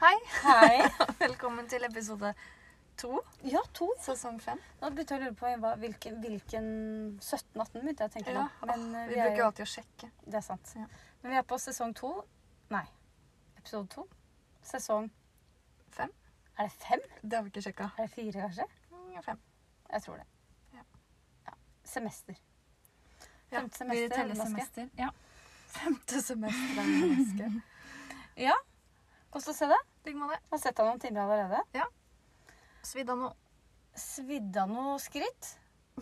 Hei. Hei. Velkommen til episode to, Ja, to. sesong fem. Nå begynte jeg å lure på hva- hvilken, hvilken 17-18 begynte jeg å tenke Ja, på. Men åh, eh, vi er bruker jo alltid å sjekke. Det er sant. Ja. Men vi er på sesong to. Nei, episode to. Sesong Fem? Er det fem? Det har vi ikke sjekka. Er det fire, kanskje? Mm, Fem. Jeg tror det. Ja. Ja. Semester. Ja, Femte semester, vi teller maske. semester. Ja. Femte semester er maske. Ja. Kos å se det. Ligg med det. Jeg har sett deg noen timer allerede. Svidd av noe. Svidd av noe skritt.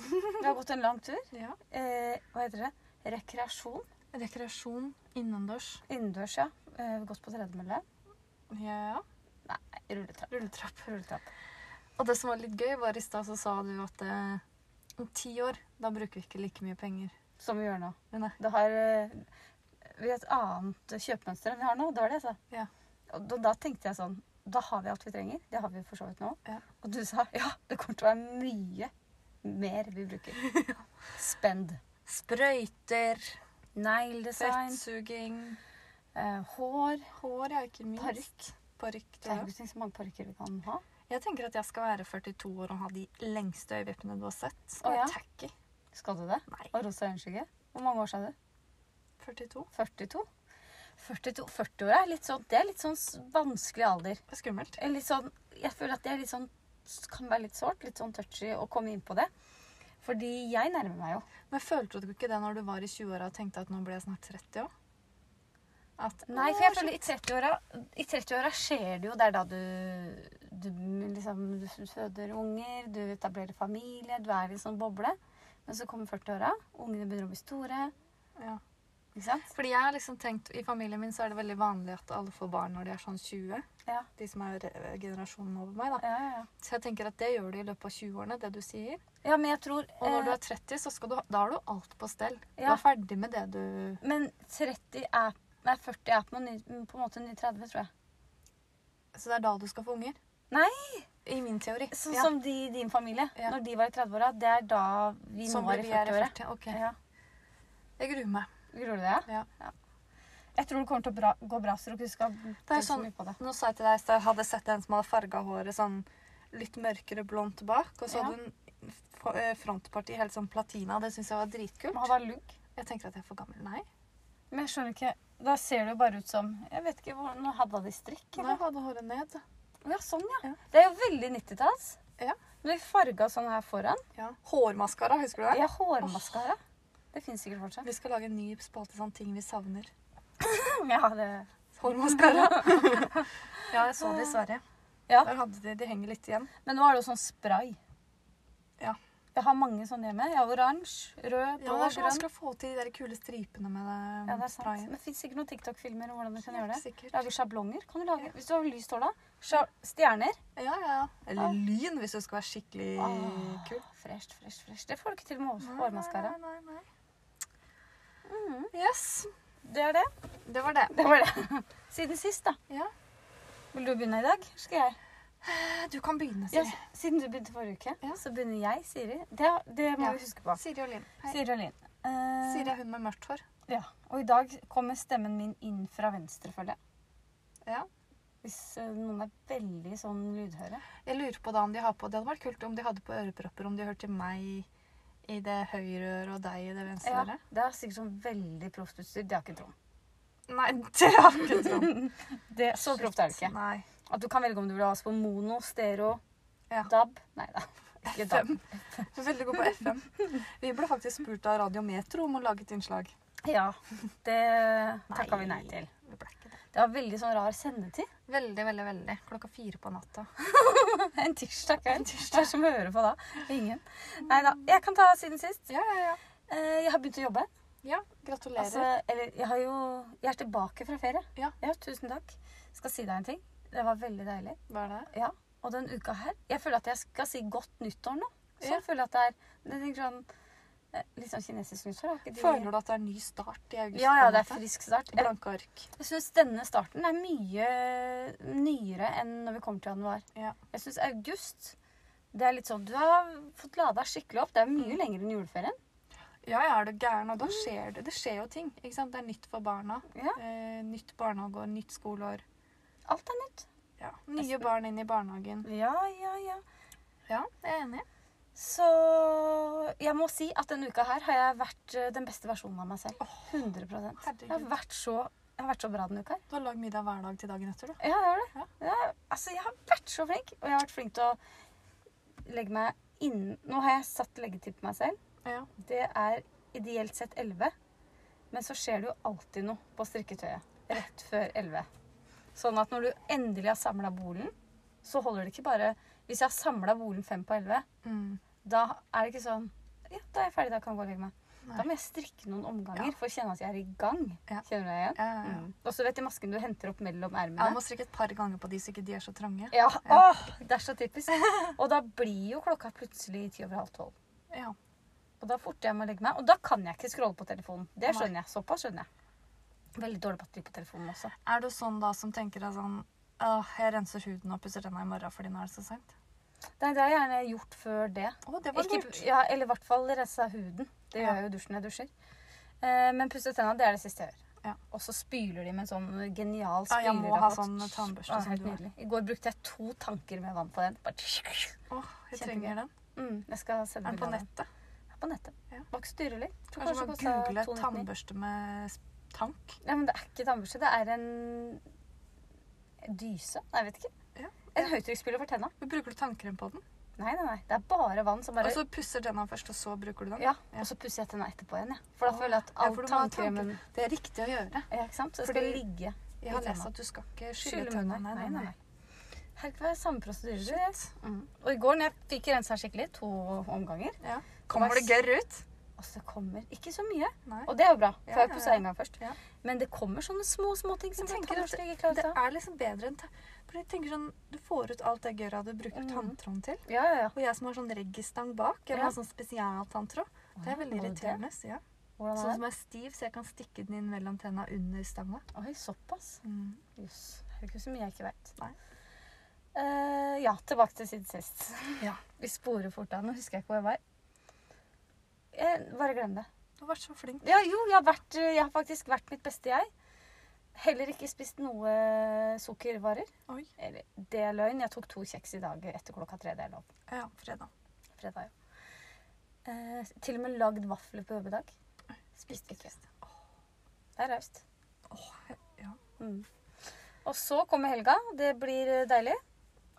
Vi har gått en lang tur. Ja. Eh, hva heter det? Rekreasjon. Rekreasjon innendørs. Innendørs, ja. Eh, gått på tredemølle. Ja. Rulletrapp. Rulletrapp. Rulletrapp. Og det som var litt gøy, var i stad så sa du at eh, om ti år, da bruker vi ikke like mye penger. Som vi gjør nå. Men nei. Det har eh, vi har et annet kjøpemønster enn vi har nå. Det var det jeg sa. Ja. Og da, da tenkte jeg sånn Da har vi alt vi trenger. Det har vi for så vidt nå. Ja. Og du sa ja, det kommer til å være mye mer vi bruker. Spend. Sprøyter, Negledesign, fettsuging, eh, hår hår, ja, ikke minst. Parykk. Parykk, Det er ja. jo ikke så mange parykker vi kan ha. Jeg tenker at jeg skal være 42 år og ha de lengste øyevippene du har sett. Og Å, ja? tacky. Skal du det? Nei. Og rosa øyenskygge. Hvor mange år sa du? 42. 42? 42 40 er litt sånn, det er litt sånn s- vanskelig alder. Det er skummelt. er litt sånn, jeg føler at det er litt sånn, kan være litt sårt, litt sånn touchy å komme inn på det. Fordi jeg nærmer meg jo. Men følte du ikke det når du var i 20-åra og tenkte at nå blir jeg snart 30 òg? At Nei, for jeg føler i 30-åra 30 skjer det jo. Det er da du, du liksom du føder unger, du etablerer familie, du er i en sånn boble. Men så kommer 40-åra, ungene begynner å bli store. Ja. Ikke sant? Fordi jeg har liksom tenkt, I familien min så er det veldig vanlig at alle får barn når de er sånn 20. Ja. De som er eh, generasjonen over meg. da. Ja, ja, ja. Så jeg tenker at det gjør du i løpet av 20-årene, det du sier. ja men jeg tror Og når du eh, er 30, så skal du, ha- da har du alt på stell. Du Ja. er ferdig med det du Men 30 er Nei, 40 er på en, ny, på en måte en ny 30, tror jeg. Så det er da du skal få unger. Nei! I min teori. Sånn Ja. som de i din familie. Ja. Når de var i 30-åra, det er da vi Sånn nå er blir i vi her i 40-åra. 40. Ok. Ja. Jeg gruer meg. Gruer du deg? Ja. Jeg tror det kommer til å bra, gå bra, så du ikke skal Det tenke er så sånn- mye på det. Nå sa jeg til deg i sted, jeg hadde sett en som hadde farga håret sånn litt mørkere blondt bak, og så Ja. hadde hun f- eh, frontparti helt sånn platina. Det syns jeg var Men dritkult. Han var lugg. Jeg tenker at jeg er for gammel. Nei. Men jeg skjønner ikke Da ser det jo bare ut som Jeg vet ikke hvordan Hadde de strikk, Nei, eller? jeg hadde håret ned. Ja, sånn, ja. Ja. Det er jo veldig 90-talls. Ja. Når vi farga sånn her foran. Ja. Hårmaskara, husker du det? Ja, hårmaskara. Det fins sikkert fortsatt. Vi skal lage en ny spalte sånn ting vi savner. Ja, det... Hårmaskara. ja, jeg så det i Sverige. Ja. Der hadde de, de henger litt igjen. Men nå er det jo sånn spray. Ja. Jeg har mange sånne hjemme. Jeg har oransje, rød, blå, Ja, det er sånn så grønn. vanskelig å få til de der kule stripene med eh, Ja, det er sant. sprayen. Men fins sikkert noen TikTok-filmer om hvordan du kan Helt gjøre det. sikkert. Lage sjablonger. Kan du lage, Hvis du har lyst hår, da. sja- Stjerner. Ja, ja, ja. Ja. Eller lyn, hvis du skal være skikkelig Ah, kul. Fresh, fresh, fresh. Det får du ikke til med Nei, hårmaskara. Nei, nei, nei. Yes. Det er det. Det var det. Det var det. Siden sist, da. Ja. Vil du begynne i dag? Skal jeg? Du kan begynne, Ja, Siri. s- siden du begynte forrige uke, Ja. så begynner jeg, Siri. Det, det må Ja. vi huske på. Siri og Linn. Hei. Siri og Linn. Eh, Siri er hun med mørkt hår. Ja. Og i dag kommer stemmen min inn fra venstre, føler jeg. Ja. Hvis eh, noen er veldig sånn lydhøre. Jeg lurer på da om de har på Det hadde vært kult om de hadde på ørepropper, om de hørte meg i det høyre øret og deg i det venstre Ja, øret. det er sikkert sånn veldig proft utstyr. Det har ikke Trond. Nei, det har ikke trodd. Det- Så proft er det ikke. Nei. At du kan velge om du vil ha oss på mono, stereo, Ja. DAB Nei da. Ikke DAB. FM. Du er veldig god på FM. Vi ble faktisk spurt av Radio Metro om å lage et innslag. Ja, det takka vi nei til. Vi ble ikke det. Det var veldig sånn rar sendetid. Veldig, veldig, veldig. Klokka fire på natta. En tirsdag kveld. Hvem som hører på da? Ingen. Nei da. Jeg kan ta siden sist. Ja, ja, ja. Eh, Jeg har begynt å jobbe. Ja, gratulerer. Altså, eller jeg har jo Jeg er tilbake fra ferie. Ja. tusen takk. Skal si deg en ting. Det var veldig deilig. Hva er det? Ja. Og den uka her Jeg føler at jeg skal si godt nyttår nå. Så Ja. jeg føler at det er det er liksom, eh, Litt sånn kinesisk nyttår. har ikke de- Føler du at det er ny start i august? Ja, ja, på en det er måte? frisk start. Jeg Blanke ark. Jeg syns denne starten er mye nyere enn når vi kommer til januar. Ja. Jeg syns august Det er litt sånn, Du har fått lada skikkelig opp. Det er mye lenger enn juleferien. Ja, ja, er du gæren. Og da skjer det. Det skjer jo ting. ikke sant? Det er nytt for barna. Mm. Ja. Eh, nytt barnehageår, nytt skoleår. Alt er nytt. Ja. Nye barn inn i barnehagen. Ja, ja, ja. Ja, jeg er enig. Så jeg må si at denne uka her har jeg vært eh, den beste versjonen av meg selv. 100 Jeg har Herregud. vært så, jeg har vært så bra denne uka her. Du har lagd middag hver dag til dagen etter, du. Ja, jeg har det. Ja, altså, jeg har vært så flink. Og jeg har vært flink til å legge meg innen Nå har jeg satt leggetid på meg selv. Ja. Det er ideelt sett 11. Men så skjer det jo alltid noe på strikketøyet rett før 11. Sånn at når du endelig har samla bolen, så holder det ikke bare Hvis jeg har samla bolen fem på 11, Mm. da er det ikke sånn Ja, da er jeg ferdig, da kan jeg gå og legge meg. Nei. Da må jeg strikke noen omganger Ja. for å kjenne at jeg er i gang. Ja. Kjenner du deg igjen? Ja, ja, ja. Mm. Og så vet du masken du henter opp mellom ermene. Jeg må strikke et par ganger på de, så ikke de er så trange. Ja, Ja. Åh, det er så typisk. Og da blir jo klokka plutselig ti over halv tolv. Ja. Og da forter jeg meg å legge meg. Og da kan jeg ikke scrolle på telefonen. Det Nei. skjønner jeg. Såpass skjønner jeg. Veldig dårlig batteri på telefonen også. Er du sånn da som tenker deg sånn Åh, jeg renser huden og pusser tenna i morgen fordi nå er det så seint? Nei, det har jeg gjerne gjort før det. Å, det var Ikke- lurt. ja, eller i hvert fall rensa huden. Det Ja. gjør jeg jo i dusjen når jeg dusjer. Eh, men pusse tenna, det er det siste jeg gjør. Ja. Og så spyler de med en sånn genial Ja, spylerapparat. jeg må ha sånn tannbørste Åh, som helt du har. nydelig. I går brukte jeg to tanker med vann på den. Bare... Åh, jeg Kjempegøy. trenger den. Mm, jeg skal Er sende den på bilde av den. nettet? på nettet. Ja. Var ikke så dyrelig. Tror Kanskje man kanskje det google kostet 299. tannbørste med s- tank? Nei, men det er ikke tannbørste. Det er en dyse. Nei, jeg vet ikke. Ja. En høytrykksspyler for tenna. Men Bruker du tannkrem på den? Nei, nei, nei. Det er bare vann som Og bare så pusser tenna først, og så bruker du den? ja, og så pusser jeg tenna etterpå igjen, jeg. For da Åh, føler jeg at ja, all for du må ha tannkremen Det er riktig å gjøre. Ja, ikke sant? Så det Fordi- skal ligge. Jeg har I lest tenna. at du skal ikke skylle Skylle tenna. munnen. Nei, nei, nei. Herregud, det er samme prosedyre. du vet. Shit. Mm. Og i går når jeg fikk rensa skikkelig, to omganger Ja. Kommer det gørr ut? Altså, det kommer ikke så mye. Nei. Og det er jo bra, for Ja, jeg ja, pussa ja. en gang først. Ja. Men det kommer sånne små, små ting som Jeg tenker at tannbørste ikke klarer Det å ta. er liksom bedre enn ta- For jeg tenker sånn, Du får ut alt det gørra du bruker Mhm. tanntråden til. Ja, ja, ja. Og jeg som har sånn reggistang bak, jeg vil Ja. ha sånn spesialtanntråd. Det er veldig Har du det? irriterende. Ja. Hvordan Sånn er det? som er stiv, så jeg kan stikke den inn mellom tenna under stanga. Oi, såpass. Mm. Jøss. Det er ikke så mye jeg ikke veit. Nei. ja, tilbake til siden sist. Ja. Vi sporer fort av. Nå husker jeg ikke hvor jeg var. Eh, bare glem det. Du har vært så flink. Ja, jo, jeg har, vært, eh, jeg har faktisk vært mitt beste jeg. Heller ikke spist noe eh, sukkervarer. Oi. Eller, det er løgn. Jeg tok to kjeks i dag etter klokka tre. Det er lov. Ja, fredag. Fredag, ja. Eh, til og med lagd vafler på jobb i dag. Spiste ikke. Det er raust. Ja. Mm. Og så kommer helga. Det blir eh, deilig.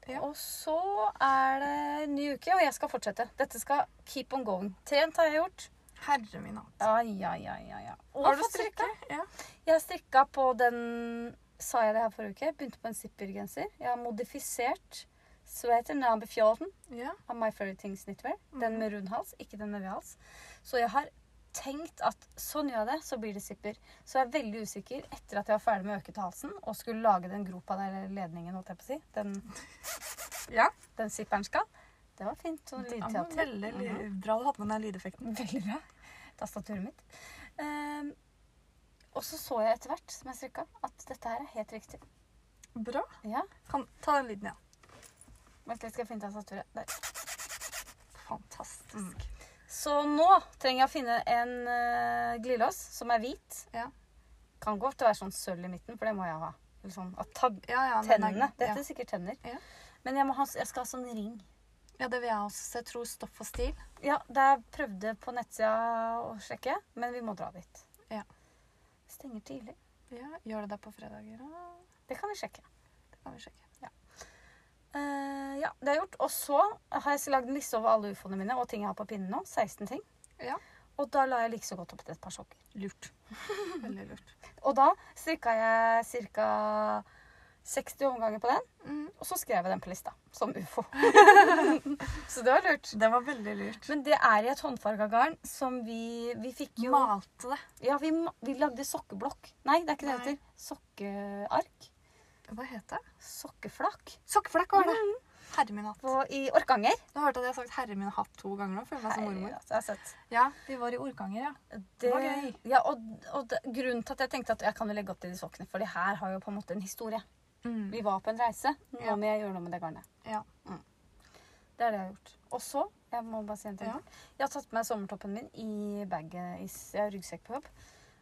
Ja. Og så er det en ny uke, og jeg skal fortsette. Dette skal keep on going. Trent har jeg gjort. Herre min altså. hatt. Ja, ja, ja, ja, ja. Og Har du fått strikka? Ja. Jeg strikka på den Sa jeg det her forrige uke? Begynte på en zippergenser. Jeg har modifisert sweater number 14 ja. av My Fairy Things Knitwear. Den Mhm. med rund hals, ikke den med ved hals. Så jeg har tenkt at sånn gjør jeg det, så blir det zipper. Så jeg er veldig usikker etter at jeg var ferdig med å øke til halsen og skulle lage den gropa der, eller ledningen, holdt jeg på å si. Den, ja. den zipperen skal. Det var fint. Sånn Jeg må lydteater. telle ly- Mhm. Bra du hadde med den lydeffekten. Veldig bra. Tastaturet mitt. Ehm, og så så jeg etter hvert som jeg strikka, at dette her er helt riktig. Bra. Ja, Kan, ta den lyden, ja. Vent litt, skal jeg finne tastaturet. Der. Mm. Fantastisk. Så nå trenger jeg å finne en uh, glidelås som er hvit. Ja. Kan godt være sånn sølv i midten, for det må jeg ha. Eller sånn, at tab Ja, ja, den er- tennene. Dette Ja. er sikkert tenner. Ja. Men jeg, må ha, jeg skal ha sånn ring. ja, det vil jeg også. Så jeg tror stoff og stil. Ja, der prøvde på nettsida å sjekke, men vi må dra dit. Ja. Stenger tidlig. Ja, Gjør det der på fredager. Ja, Det kan vi sjekke. det kan vi sjekke. Eh, ja, det er gjort. Og så har jeg lagd en liste over alle ufoene mine og ting jeg har på pinnen nå. 16 ting. Ja. Og da la jeg like så godt opp til et par sokker. Lurt. Veldig lurt. Og da strikka jeg ca. 60 omganger på den, Mm. og så skrev jeg den på lista som ufo. så det var lurt. Det var veldig lurt. Men det er i et håndfarga garn som vi Vi fikk jo Malte det. Ja, vi, ma- vi lagde sokkeblokk. Nei, det er ikke det det Nei. heter. Sokkeark. Hva heter det? Sokkeflak. Sokkeflekk var det. Herre min hatt. På, I Orkanger. Du har hørt at jeg har sagt 'herre min hatt' to ganger nå? Føler meg som mormor. Herre, altså, jeg har sett. Ja, vi var i Orkanger, ja. Det, var gøy. ja, og, og det, grunnen til at jeg tenkte at jeg kan jo legge opp til de sokkene, for de her har jo på en måte en historie. Mm. Vi var på en reise. Nå Ja. må jeg gjøre noe med det garnet. Ja. Mm. Det er det jeg har gjort. Og så, jeg må bare si en ting. Ja. Jeg har tatt med sommertoppen min i bagget, i s- jeg har ryggsekk på jobb.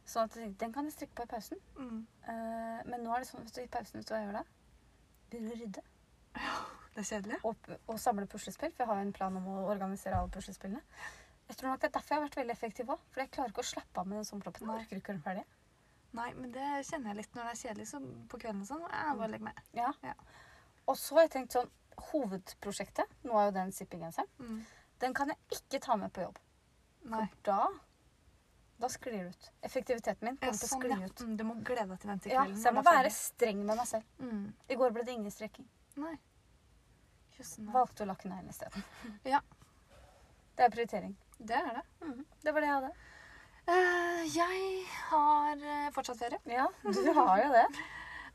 Sånn at jeg tenkte, den kan jeg strikke på i pausen. Mm. Eh, men nå er det sånn, hvis du i pausen vet du hva jeg gjør da? Begynner å rydde Det er kjedelig. og, og samle puslespill, for jeg har jo en plan om å organisere alle puslespillene. Jeg tror nok det er derfor jeg har vært veldig effektiv òg. For jeg klarer ikke å slappe av med den sommertoppen. Nei. Jeg orker ikke å gjøre den ferdig. Nei, men det kjenner jeg litt når det er kjedelig så på kvelden og sånn. Jeg Mm. bare legger meg. Ja. Ja. Og så har jeg tenkt sånn Hovedprosjektet, nå er jo den zippegenseren, Mm. den kan jeg ikke ta med på jobb. Nei. For da da sklir det ut. Effektiviteten min Ja, kommer til å sånn, skli ja. ut. Mm, Du må glede deg til den til Ja, kvelden. så jeg må når det er være streng med meg selv. ferdig. mm. I går ble det ingen strekking. Nei. Jøssen, ja. Valgte å lakke neglen isteden. Ja. Det er prioritering. Det er det. Mm, Det var det jeg hadde. Eh, jeg har eh, fortsatt ferie. Ja, du har jo det.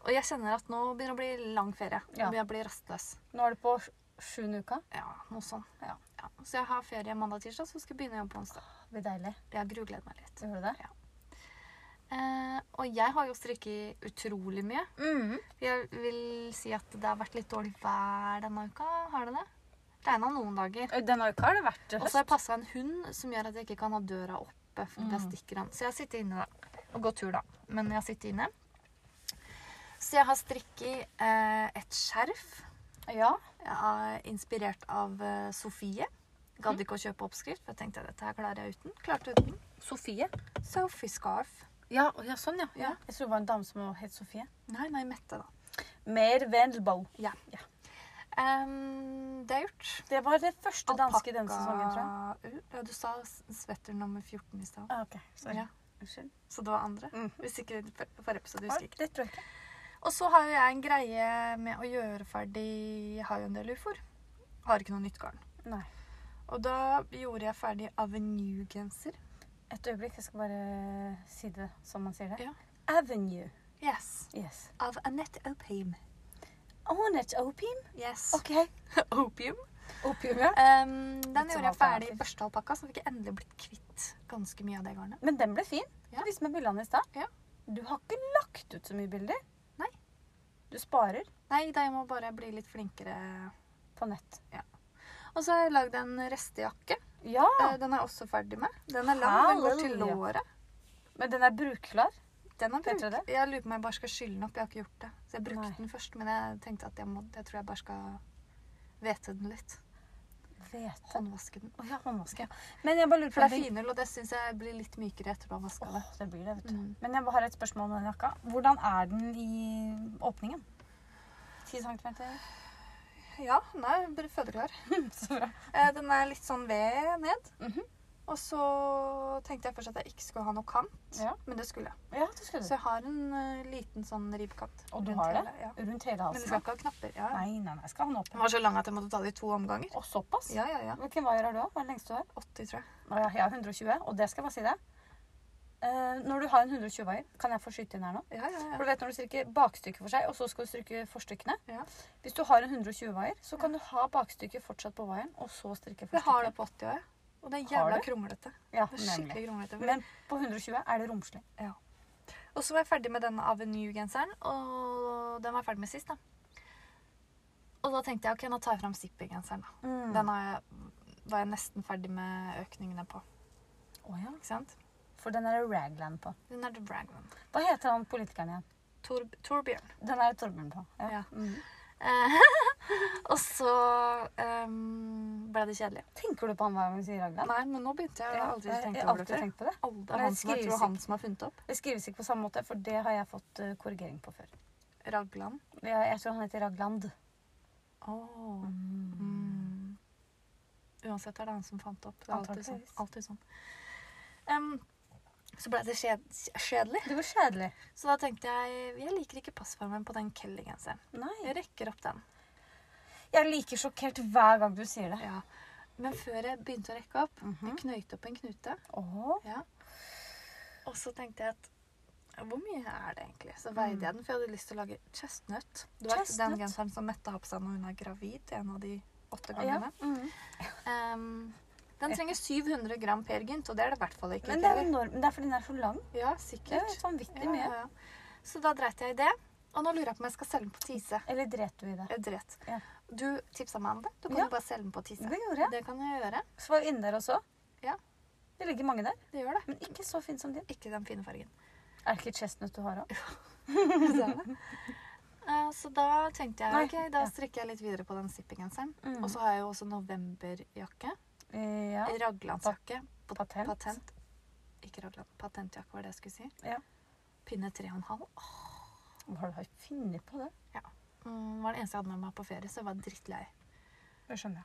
Og jeg kjenner at nå begynner det å bli lang ferie. Ja. Nå begynner jeg å bli rastløs. Nå er det på sj- sjuende uka. Ja, noe sånn. Ja. Så jeg har ferie mandag-tirsdag, så skal jeg begynne igjen på onsdag. Det blir deilig. Jeg grugleder meg litt. Gjør du det? Eh, og jeg har jo strikket utrolig mye. Mm. Jeg vil si at det har vært litt dårlig vær denne uka. Har det det? Regna noen dager. Denne uka har det vært Og så har jeg passa en hund som gjør at jeg ikke kan ha døra oppe. For da Mm. stikker han. Så jeg sitter inne da. og går tur, da. Men jeg sitter inne. Så jeg har strikket eh, et skjerf. Ja. Jeg er inspirert av eh, Sofie. Mm. Gadd ikke å kjøpe oppskrift, for jeg tenkte dette her klarer jeg uten. Klarte uten. Sofie. Sophie Scarf. Ja, sånn, ja. Ja. Jeg tror det var en dame som het Sofie. Nei, nei, Mette, da. Mer Vendelbow. Em, Ehm, det er gjort. Det var det første danske i denne sesongen, tror jeg. jeg. Ja, du sa s- sweater nummer 14 i stad. Ah, ok, sorry. Ja, Unnskyld. så det var andre. Mm. Hvis ikke for- for episode, Ah, husker jeg ikke. det tror jeg ikke. Og så har jo jeg en greie med å gjøre ferdig Jeg har jo en del ufoer. Har ikke noe nytt garn. Nei. Og da gjorde jeg ferdig Avenue-genser. Et øyeblikk, jeg skal bare si det som man sier det. Ja. Avenue. Yes. Yes. Av Anette Opium. On it, opium. Yes. Ok. Opium. Opium, ja. Ehm, den Litt som gjorde jeg ferdig i alternativ. første alpakka, så fikk jeg endelig blitt kvitt ganske mye av det garnet. Men den ble fin. Ja. Du viste meg bildene i stad. Ja. Du har ikke lagt ut så mye bilder. Nei. Du sparer Nei, da jeg må bare bli litt flinkere. på nett. Og så har jeg lagd en restejakke. Ja, Eh, Den er jeg også ferdig med. Den er lang, den går til Halleluja. låret. men den er brukklar. Den er Heter det brukt. Jeg lurer på om jeg bare skal skylle den opp. Jeg har ikke gjort det. Så jeg brukte Nei. den først, men jeg tenkte at jeg, må, jeg tror jeg bare skal hvete den litt. Vet Håndvaske den. Å ja, håndvaske. ja. Men jeg bare lurer på For det en er ting. finull, og det syns jeg blir litt mykere etter du har vaska det. Åh, det blir det, vet du. Mm. Men jeg bare har et spørsmål om den jakka. Hvordan er den i åpningen? 10 centimeter? Ja, nei, bare fødeklar. Så bra. Eh, Den er litt sånn ved ned. Mhm. Og så tenkte jeg først at jeg ikke skulle ha noe kant, Ja. men det skulle jeg. ja, du skulle Så jeg har en eh, liten sånn ribbkant. Og du rundt har det? hele, Ja. Rundt hele Men det halsen? skal ikke ha knapper. Ja. ja. Nei, nei, nei. Skal han opp? Den var så lang at jeg måtte ta det i to omganger. Og såpass? Ja, ja, ja. Hvilken vaier har du? da? Hva er den lengste du har? 80, tror jeg. Nå, ja, jeg har 120, og det skal jeg bare si deg. Eh, når du har en 120 vaier, kan jeg få skyte inn her nå? Ja, ja, For ja. du vet når du stryker bakstykket for seg, og så skal du stryke forstykkene. Ja. Hvis du har en 120 vaier, så kan du ha bakstykket fortsatt på vaieren, og så stryke Jeg har det forstykket. på 80 år, jeg. Og det er Har jævla du? kronglete. Ja, Det er nemlig. skikkelig kronglete. Men på 120 er det romslig. Og så var jeg ferdig med denne Avenue-genseren, og den var jeg ferdig med sist, da. Og da tenkte jeg ok, nå tar jeg fram Zippy-genseren. da. Den har jeg, var jeg nesten ferdig med økningene på. Å ja, Ikke sant? For den er det ragland på. Den er The Bragman. Hva heter han politikeren igjen? Tor, Torbjørn. Den er det Torbjørn på. Ja. Mhm. Eh, og så ehm, ble det kjedelig. Tenker du på han hver gang du sier ragland? Nei, men nå begynte jeg. Jeg har aldri jeg tenkt har over alltid det før. tenkt på det. Aldri. Det Nei, er han som, jeg skrives tror han som har funnet opp. Det skrives ikke på samme måte, for det har jeg fått eh, korrigering på før. Ragland. Ja, jeg tror han heter Ragland. Oh. Mm. Uansett er det han som fant opp. Det er alltid sånn. Antakeligvis. Alltid sånn. Em, så ble det kjed kjedelig. Det var kjedelig. Så da tenkte jeg jeg liker ikke passformen på den Kelly-genseren. Nei. Jeg rekker opp den. Jeg er like sjokkert hver gang du sier det. Ja. Men før jeg begynte å rekke opp, Mhm. jeg knøyte opp en knute. Åh. Ja. Og så tenkte jeg at hvor mye er det egentlig? Så veide jeg den, for jeg hadde lyst til å lage chestnut. Du vet, Mm. Chestnut? den genseren som Mette har på seg når hun er gravid, en av de åtte Ja. Mm. gangene. Ehm, den trenger 700 gram Per Gynt, og det er det i hvert fall ikke. Men det er Kelly. enormt. Men det er fordi den er så lang. Ja, Det er sikkert. vanvittig Ja, mye. ja, ja. Så da dreit jeg i det, og nå lurer jeg på om jeg skal selge den på Tise. Eller dret du i det? Jeg dret. Ja. Du tipsa meg om det. Du kan Ja. jo bare selge den på Tisse. Det gjorde jeg. Det kan jeg gjøre. Så var jeg inne der også. Ja. Det ligger mange der, Det gjør det. men ikke så fin som din. Ikke den fine fargen. Er det ikke litt chestnut du har òg? Så, er det. Eh, så da tenkte jeg Nei, ok, da ja. strikker jeg litt videre på den zippegenseren. Mm. Og så har jeg jo også novemberjakke. Ja. Raglandsjakke. Patent. Patent. Ikke raglan. Patentjakke var det jeg skulle si. Ja. Pinne 3,5. Hva har du funnet på det? Mm, var det eneste jeg hadde med meg på ferie, så jeg var drittlei. Det skjønner jeg.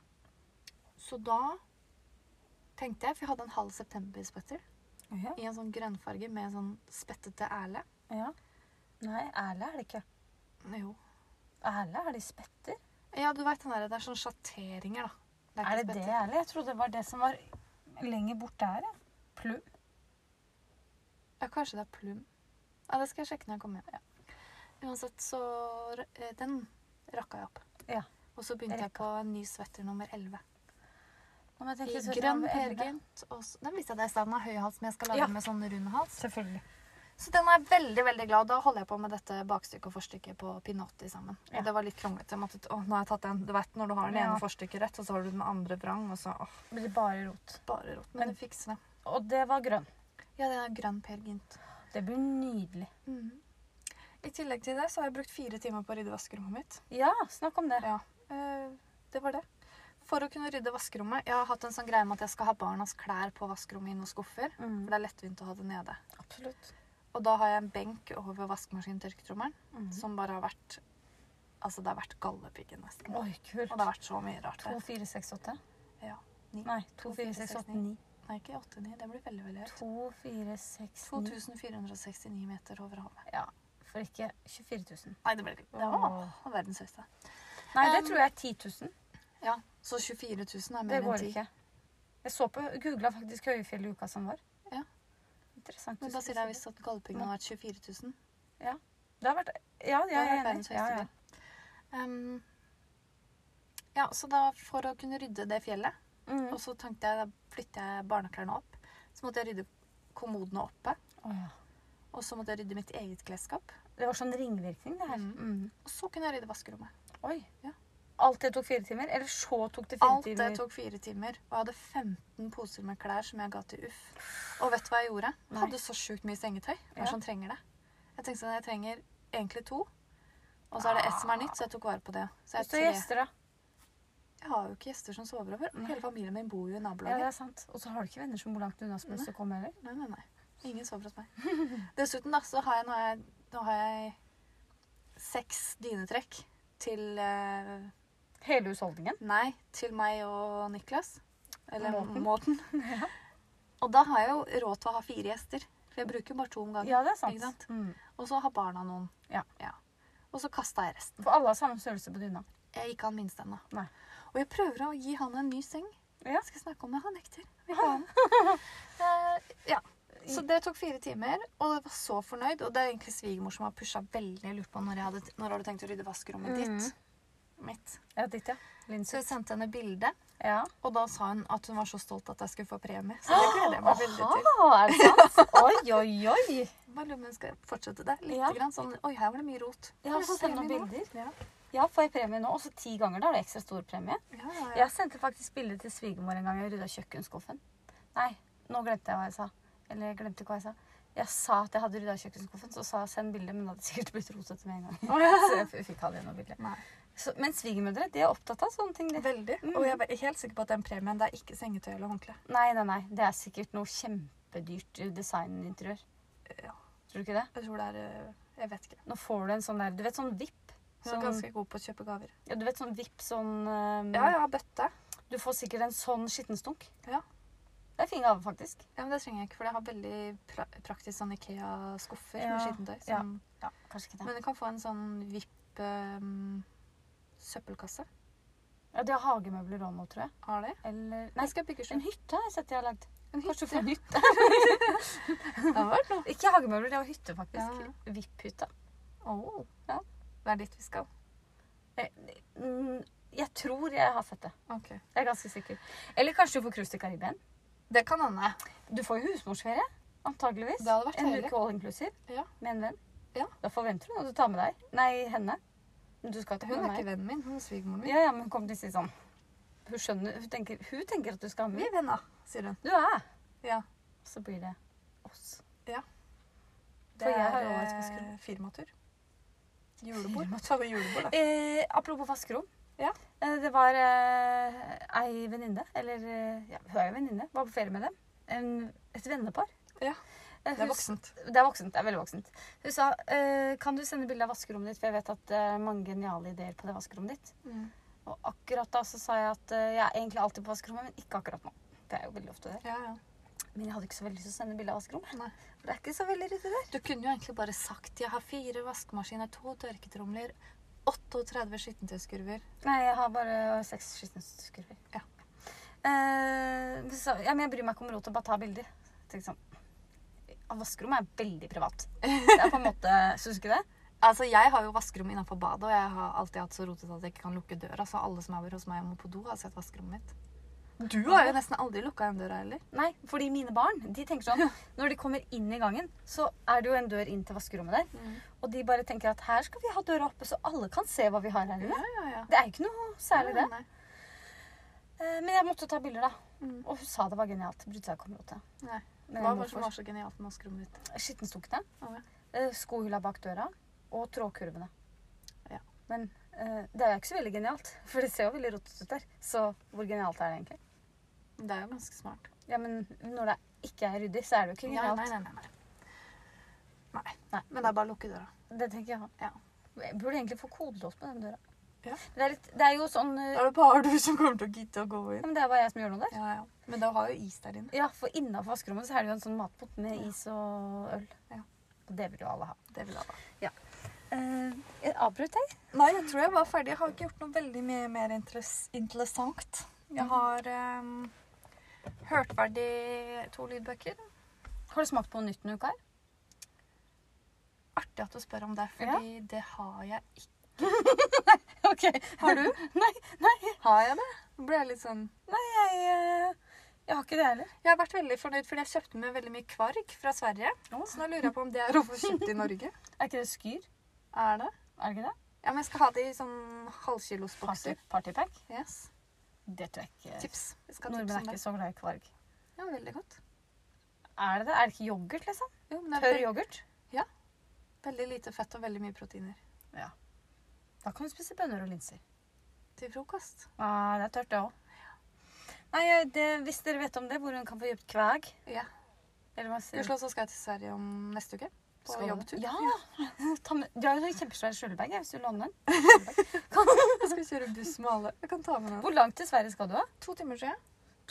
Så da tenkte jeg, for jeg hadde en halv september-spetter Ja. i en sånn grønnfarge med en sånn spettete erle. ja. Nei, Erle er det ikke. Jo. Erle, er de spetter? Ja, du vet den der, det er sånn sjatteringer, da. Det Er ikke det det, spetter. Erle? Jeg trodde det var det som var lenger bort der. jeg. Plum. Ja, kanskje det er plum. Ja, det skal jeg sjekke når jeg kommer hjem. Uansett, så r- eh, den rakka jeg opp. Ja. Og så begynte jeg på en ny svetter nummer 11. Nå må jeg I tenke så- grønn Ja, Peer Gynt. og så- Den viste jeg deg i stedet, den har høy hals, men jeg skal lage Ja. den med sånn rund hals. Selvfølgelig. Så den er jeg veldig, veldig glad. Da holder jeg på med dette bakstykket og forstykket på Pinotti sammen. Ja. Og det var litt kronglete. Jeg måtte, å, nå har jeg tatt den. Du vet når du har den Ja. ene forstykket rett, og så har du den andre vrang, og så åh, Blir bare rot. bare rått. Men- Men det fikser det. Og det var grønn. Ja, det er grønn Per Gynt. Det blir nydelig. Mhm. I tillegg til det så har jeg brukt fire timer på å rydde vaskerommet mitt. Ja, snakk om det. Ja, eh, det var det. For å kunne rydde vaskerommet Jeg har hatt en sånn greie med at jeg skal ha barnas klær på vaskerommet i noen skuffer. Mm. For det er lettvint å ha det nede. Absolutt. Og da har jeg en benk over vaskemaskintørketrommelen. Mm. som bare har vært Altså, det har vært gallepiggen, nesten. Oi, kult. Og det har vært så mye rart. 2, der. 4, 6, 8? Ja. Ni. Nei, 2, 4, 6, 8, 9. Nei, ikke 89. Det blir veldig, veldig høyt. 2, 4, 6, 9. 2469 meter over havet. Ja, for ikke 24 000. Nei, det ble det var Åh. verdens høyeste. Nei, det Um, tror jeg er 10 000. Ja, så 24 000 er Det mer enn går 10. ikke. Jeg så på, googla faktisk Høyfjell i uka som var. Ja. Interessant. Men du da skulle sier jeg si visst at gallepiggen har vært 24 000. det. Det har vært Ja, Det ja har jeg vært er enig. verdens Ja, høyeste ja. bygg. Ehm, ja, så da for å kunne rydde det fjellet, Mm. og så tenkte jeg da flytter jeg barneklærne opp, så måtte jeg rydde kommodene oppe, Å, ja. og så måtte jeg rydde mitt eget klesskap. Det var sånn ringvirkning, det her. Mm. Mm. Og så kunne jeg rydde vaskerommet. Oi. Ja. Alt det tok fire timer? Eller så tok det fire Alt timer? det tok fire timer, og jeg hadde 15 poser med klær som jeg ga til UFF. Og vet du hva jeg gjorde? Jeg Nei. hadde så sjukt mye sengetøy. Ja. Hvem som trenger det? Jeg tenkte sånn, jeg trenger egentlig to, og så er det ett som er nytt, så jeg tok vare på det. Så jeg, Hvis du har har tre. gjester, da. jeg har jo ikke gjester som sover over. Nei. Hele familien min bor jo i Ja, det nabolaget. er sant. Og så har du ikke venner som bor langt unna som har lyst til å komme heller. Nei, nei, nei. Ingen sover hos meg. Dessuten da, så har jeg, nå har jeg, nå har jeg seks dynetrekk til eh, Hele husholdningen. Nei, til meg og Niklas. Eller Måten. Måten. Og da har jeg jo råd til å ha fire gjester. For jeg bruker jo bare to om gangen. Ja, det er sant. Ikke sant? Mm. Og så har barna noen. Ja. Og så kasta jeg resten. For alle har samme størrelse på dyna. Jeg er ikke han minste ennå. Nei. Og jeg prøver å gi han en ny seng. Ja. Skal jeg snakke om det? Han nekter. Jeg vil ikke ha den. Eh, ja. Så det tok fire timer, og jeg var så fornøyd. Og det er egentlig svigermor som har pusha veldig. Jeg lurte på når, jeg hadde, når har du tenkt å rydde vaskerommet ditt? Mm. Mitt. Ja, ditt, ja. Så Linse. jeg sendte henne bilde. Ja. Og da sa hun at hun var så stolt at jeg skulle få premie. Så det gleder jeg meg veldig til. er det sant? Oi, oi, oi. Bare lurer på om jeg skal fortsette der. Litt Ja. grann sånn Oi, her var det mye rot. Ja, Har du så fått send noen premie nå? bilder. Ja. Ja, får jeg premie nå? Også ti ganger, da er det ekstra stor premie. Ja, ja, ja. Jeg sendte faktisk bilde til svigermor en gang jeg rydda kjøkkenskuffen. Nei, nå glemte jeg hva jeg sa. Eller jeg glemte ikke hva jeg sa. Jeg sa at jeg hadde rydda kjøkkenskuffen, så sa jeg 'send bilde', men det hadde sikkert blitt rotete med en gang. Så jeg f- fikk aldri noe bilde. Nei. Så, men svigermødre, de er opptatt av sånne ting. de. Veldig. Mm. Og jeg er helt sikker på at den premien det er ikke sengetøy eller håndkle. Nei, nei, nei. Det er sikkert noe kjempedyrt designinteriør. Ja. Tror du ikke det? Jeg tror det er eh, Jeg vet ikke. Nå får du en sånn der Du vet sånn vipp? Hun er Sånn, ganske god på å kjøpe gaver. ja, du vet sånn vipp sånn eh, Ja, ja, bøtte. Du får sikkert en sånn skittenstunk. Ja. Det er fin gave, faktisk. Ja, men Det trenger jeg ikke, for jeg har veldig pra praktisk sånn Ikea-skuffer Ja. med skittentøy. som- Ja, kanskje ikke det. Men du kan få en sånn vipp ehm, søppelkasse. Ja, De har hagemøbler òg nå, tror jeg. Har de? Eller Nei, Nei, skal jeg bygge en sjøl. hytte har jeg sett de har lagd. En Kanskje du hytte. får en hytte? Det har vært noe. Ikke hagemøbler, det var hytte, faktisk. Ja, VIP-hytta. Oh. Ja. Det er dit vi skal. Eh, mm, Jeg tror jeg har fått det. Ok. Jeg er ganske sikker. Eller kanskje du får cruise til Karibien. Det kan hende. Du får jo husmorsferie, antageligvis. Det hadde vært en deilig. uke all inclusive Ja. med en venn. Ja. Da forventer du noe du tar med deg. Nei, henne. Men du skal ikke Hun med er ikke meg. vennen min, hun er svigermoren min. Ja, ja, men hun kommer til å si sånn Hun skjønner Hun tenker, hun tenker at du skal ha Vi med. er venner, sier hun. Du er Ja. Så blir det oss. Det For jeg har er jo et eh, vaskerom. firmatur. Julebord. Ta med julebord, da. Eh, apropos vaskerom. Ja. Eh, det var eh, ei venninne, eller eh, ja, hun er jo venninne, var på ferie med dem. En, et vennepar. Ja. Eh, Det er hun- voksent. Det er voksent. det er Veldig voksent. Hun sa eh, kan du sende bilde av vaskerommet ditt, for jeg vet at det er mange geniale ideer på det vaskerommet ditt. Mm. Og akkurat da så sa jeg at eh, jeg er egentlig alltid på vaskerommet, men ikke akkurat nå. Det er jo veldig ofte der. Ja, ja. Men jeg hadde ikke så veldig lyst til å sende bilde av vaskerommet. Nei. For det er ikke så veldig ryddig der. Du kunne jo egentlig bare sagt jeg har fire vaskemaskiner, to tørketromler, 38 skittentøyskurver. Nei, jeg har bare seks skitneskurver. Ja. Eh, så, ja, men jeg bryr meg ikke om rot og bare ta bilder. Tenkte sånn ja, Vaskerommet er veldig privat. Det er på en måte Syns du ikke det? Altså, Jeg har jo vaskerom innenfor badet, og jeg har alltid hatt så rotete at jeg ikke kan lukke døra. Så alle som er hos meg og må på do, har sett vaskerommet mitt. Du Du har jo nesten aldri lukka den døra heller. Nei, fordi mine barn de tenker sånn Når de kommer inn i gangen, så er det jo en dør inn til vaskerommet der. Mm. Og de bare tenker at her skal vi ha døra oppe, så alle kan se hva vi har her inne. Ja, ja, ja. Det er jo ikke noe særlig, det. Nei, nei. Eh, Men jeg måtte ta bilder, da. Mm. Og hun sa det var genialt. Brydde seg ikke om rotet. Nei. Men jeg Hva må var det som få- var så genialt med vaskerommet ditt? Skittenstukene, Å, ja. eh, skohylla bak døra og trådkurvene. Ja. Men eh, det er jo ikke så veldig genialt, for det ser jo veldig rotete ut der. Så hvor genialt er det egentlig? Det er jo ganske smart. Ja, men når det ikke er ryddig, så er det jo ikke Ja, genialt. nei, nei, nei, nei. Nei. Nei. Men det er bare å lukke døra. Det tenker jeg. Ja. Jeg burde egentlig få kodelås på den døra. Ja. Men Det, er litt, det er jo sånn eh, Da er det bare du som kommer til å gidde å gå ja, inn. men Det er bare jeg som gjør noe der. Ja, ja. Men da har jo is der inne. Ja, for innafor vaskerommet så er det jo en sånn matpott med is og øl. Ja. Og det vil jo alle ha. Det vil jeg da. Eh, jeg avbrøt deg. Nei, jeg tror jeg var ferdig. Jeg har ikke gjort noe veldig mye mer interess- interessant. Jeg har ehm, hørt ferdig to lydbøker. Har du smakt på nytt denne uka? her? Artig at du spør om det, fordi det har jeg ikke. Ok, Har du? nei, Har jeg det? Ble jeg litt sånn jeg, eh, jeg har ikke det heller. Jeg har vært veldig fornøyd fordi jeg kjøpte med veldig mye kvarg fra Sverige. Å. Så nå lurer jeg på om det er å få kjøpt i Norge. Er ikke det skyr? Er det? Er det ikke det? Ja, men jeg skal ha det i sånn Party, halvkilosbokser. partypack? Yes. Det tror jeg ikke. Tips. Jeg skal ha Nordmenn er tips om det. ikke så glad i kvarg. Ja, veldig godt. Er det det? Er det ikke yoghurt, liksom? Jo, men det er Tørr veldig, yoghurt? veldig lite fett og veldig mye proteiner Da kan du spise bønner og linser. til frokost. Nei, Ah, det er tørt, det òg. Nei, eh, det, hvis dere vet om det, hvor hun kan få kjøpt kveg Ja. Eller hva sier Gudskjelov så skal jeg til Sverige om neste uke. På Skal du? jobbtur. Ja! Ta med, du har jo en kjempesvær skjulebag jeg, hvis du låner den. Jeg skal kjøre buss med alle. Jeg kan ta med den. Hvor langt til Sverige skal du? da? To timer siden.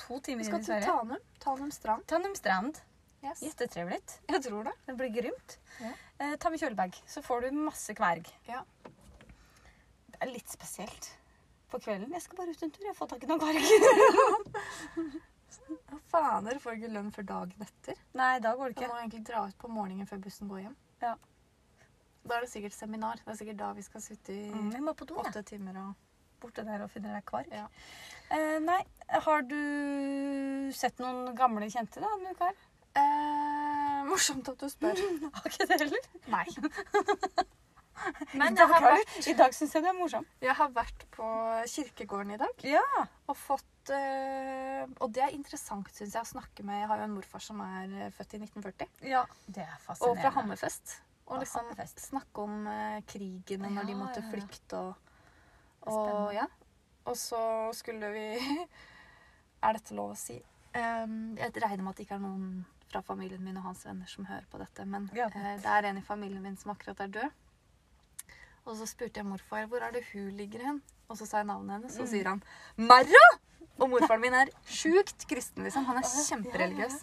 To Vi timer skal inn i til Sverige. Tanum. Tanum strand. Trondheimstrand. Yes. Jettetrevelig. Jeg tror det. Det blir grymt. Ja. Eh, ta med kjølebag, så får du masse kverg. Ja. Det er litt spesielt på kvelden. Jeg skal bare ut en tur. Jeg får tak i noen kverg. Ja, fader, får ikke lønn før dagen etter. Nei, da går det Jeg ikke. må egentlig dra ut på morgenen før bussen går hjem. Ja. Da er det sikkert seminar. Det er sikkert da vi skal sitte i Mm, Vi må på do, da. åtte timer og Borte der og finner deg kvarg. Ja. Eh, nei, har du sett noen gamle kjente da, denne uka her? eh, Morsomt at du spør. Har ikke det heller? Nei. I Men dag jeg har, er- vært, I dag syns jeg det er morsomt. jeg har vært på kirkegården i dag. Ja. og fått eh, Og det er interessant, syns jeg, å snakke med Jeg har jo en morfar som er eh, født i 1940, Det er og fascinerende. fra Hammerfest. Fra Og liksom Hammerfest. snakke om eh, krigen og når de Ja, måtte ja, ja. flykte og, og Spennende. Ja. Og så skulle vi Er dette lov å si? Em, jeg regner med at det ikke er noen fra familien min og hans venner som hører på dette, men Ja. eh, det er en i familien min som akkurat er død. Og så spurte jeg morfar hvor er det hun ligger hen, og så sa jeg navnet hennes, Mm. og så sier han Merra! Og morfaren min er sjukt kristen, liksom. Han er kjempereligiøs.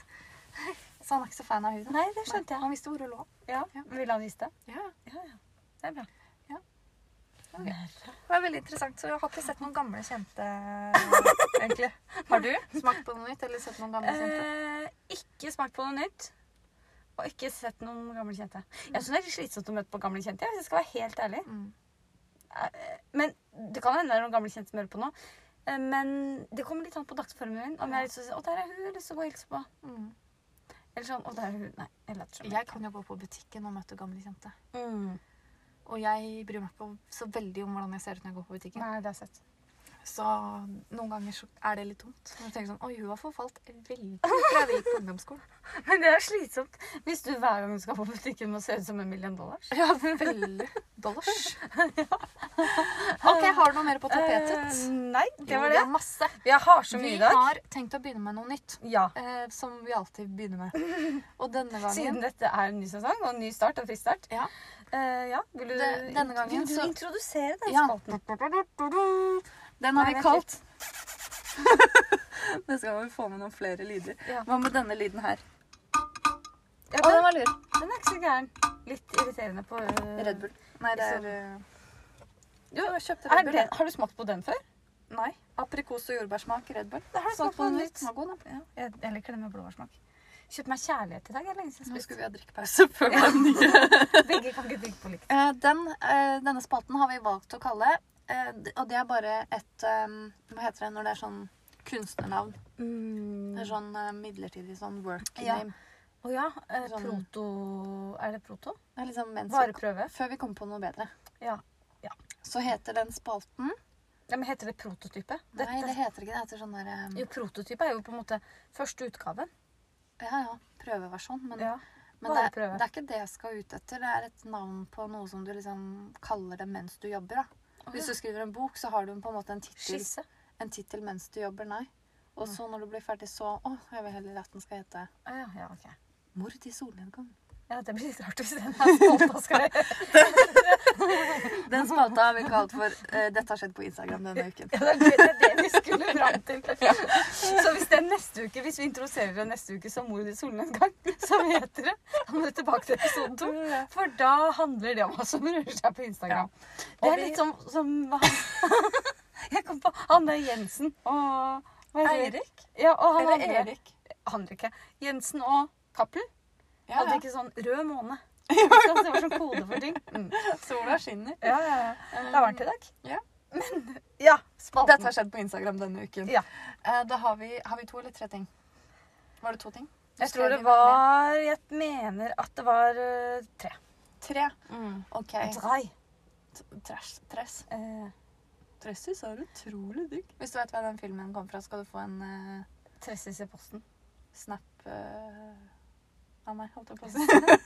Så han er ikke så fan av hun. da. Nei, det skjønte jeg. Han visste hvor hun lå. Ja. Ja. Ville han vist det? Ja, ja. Ja, ja. Det er bra. Ja. Ok. Det var veldig interessant, så jeg har ikke sett noen gamle kjente, eh, egentlig. Har du smakt på noe nytt, eller sett noen gamle kjente? Eh, ikke smakt på noe nytt. Og ikke sett noen gamle kjente. Jeg syns det er litt slitsomt å møte på gamle kjente. ja, Hvis jeg skal være helt ærlig. Mm. Men det kan hende det er noen gamle kjente som hører på nå. Eh, Men det kommer litt an på dagsformen min. Om jeg har lyst til å si 'Å, der er hun', eller så går jeg og hilser på. Mm. Eller sånn 'Å, der er hun'. Nei, jeg later som. Jeg kan jo gå på butikken og møte gamle kjente. Mm. Og jeg bryr meg ikke så veldig om hvordan jeg ser ut når jeg går på butikken. Nei, det er søtt. Så noen ganger så er det litt dumt. Når du tenker sånn Oi, hun har forfalt veldig fra vi gikk på ungdomsskolen. Men det er slitsomt hvis du hver gang du skal på butikken må se ut som en million dollars. Ja, veldig. Dollars. OK, har du noe mer på tapetet? Eh, nei, det Jo, var vi det. har masse. Jeg har så mye Vi i dag. har tenkt å begynne med noe nytt. Ja. Eh, som vi alltid begynner med. Og denne gangen Siden dette er en ny sesong og en ny start og frisk start. Ja. Eh, ja. Vil du, Det- denne gangen vil du så- introdusere den Ja. spalten? Den har Nei, vi vent kalt Nå skal vi få med noen flere lyder. Ja. Hva med denne lyden her? Ja, Å, den, var lur. den er ikke så gæren. Litt irriterende på eh, Red Bull. Nei, det er eh, Jo, Liksom. jeg kjøpte er den, har du smakt på den før? Nei. Aprikos- og jordbærsmak Red Bull. Det har du smakt på den litt. Den var god, da. Ja. Jeg, jeg liker den med blåbærsmak. Kjøpte meg kjærlighet i dag. Jeg er lenge siden Nå jeg skulle vi ha drikkepause før den nye. spiste. Begge kan ikke drikke på likt. Eh, Den, eh, denne spalten har vi valgt å kalle eh, d- Og det er bare et eh, Hva heter det når det er sånn kunstnernavn? Det er Mm. sånn eh, midlertidig sånn work Ja. name. Å ja. eh, Sånn- Proto Er det proto? Det er liksom mens vi, Vareprøve? før vi kommer på noe bedre. Ja. Så heter den spalten ja. Men heter det prototype? Nei, det heter ikke det. Det heter sånn der eh, Jo, prototype er jo på en måte første utgaven. Ja, ja. Prøveversjon. Men, Ja. men det, er- Vareprøve. det er ikke det jeg skal ut etter. Det er et navn på noe som du liksom kaller det mens du jobber. da. Hvis du skriver en bok, så har du på en måte en tittel Skisse. en tittel mens du jobber, nei. Og så når du blir ferdig, så Å, jeg vil heller at den skal hete Å ja, ja, ok. 'Mord i solnedgang'. Ja, det blir litt rart hvis den er spalta skal jeg. Den spalta har vi kalt for eh, 'Dette har skjedd på Instagram denne uken'. Ja, det er det, det, er det vi skulle fram til. Så hvis det er neste uke, hvis vi introduserer det neste uke som mord i solnedgang, så heter det Da må du tilbake til episode to. For da handler det om hva som rører seg på Instagram. Det Og er vi- litt som, som han Jeg kom på han der Jensen og hva heter det? Eirik? Ja, og han Eller andre. Erik? Han ikke. Jensen og Cappelen Ja, hadde ja. ikke sånn rød måne. Ikke sant? Det var sånn kode for ting. Mm. Sola skinner. Ja, ja, ja. Um, Det har vært i dag. Ja. Men ja, Dette spalten. har skjedd på Instagram denne uken. Ja. Eh, da har vi, har vi to eller tre ting. Var det to ting? Jeg tror det Skrev vi vel ned? var Jeg mener at det var eh, tre. Tre. Mm. OK. Drei. Trash. Trash. Eh, Tressis er utrolig digg. Hvis du vet hva den filmen kom fra, skal du få en eh, Tressis i posten. snap eh, av meg, holdt jeg på å si.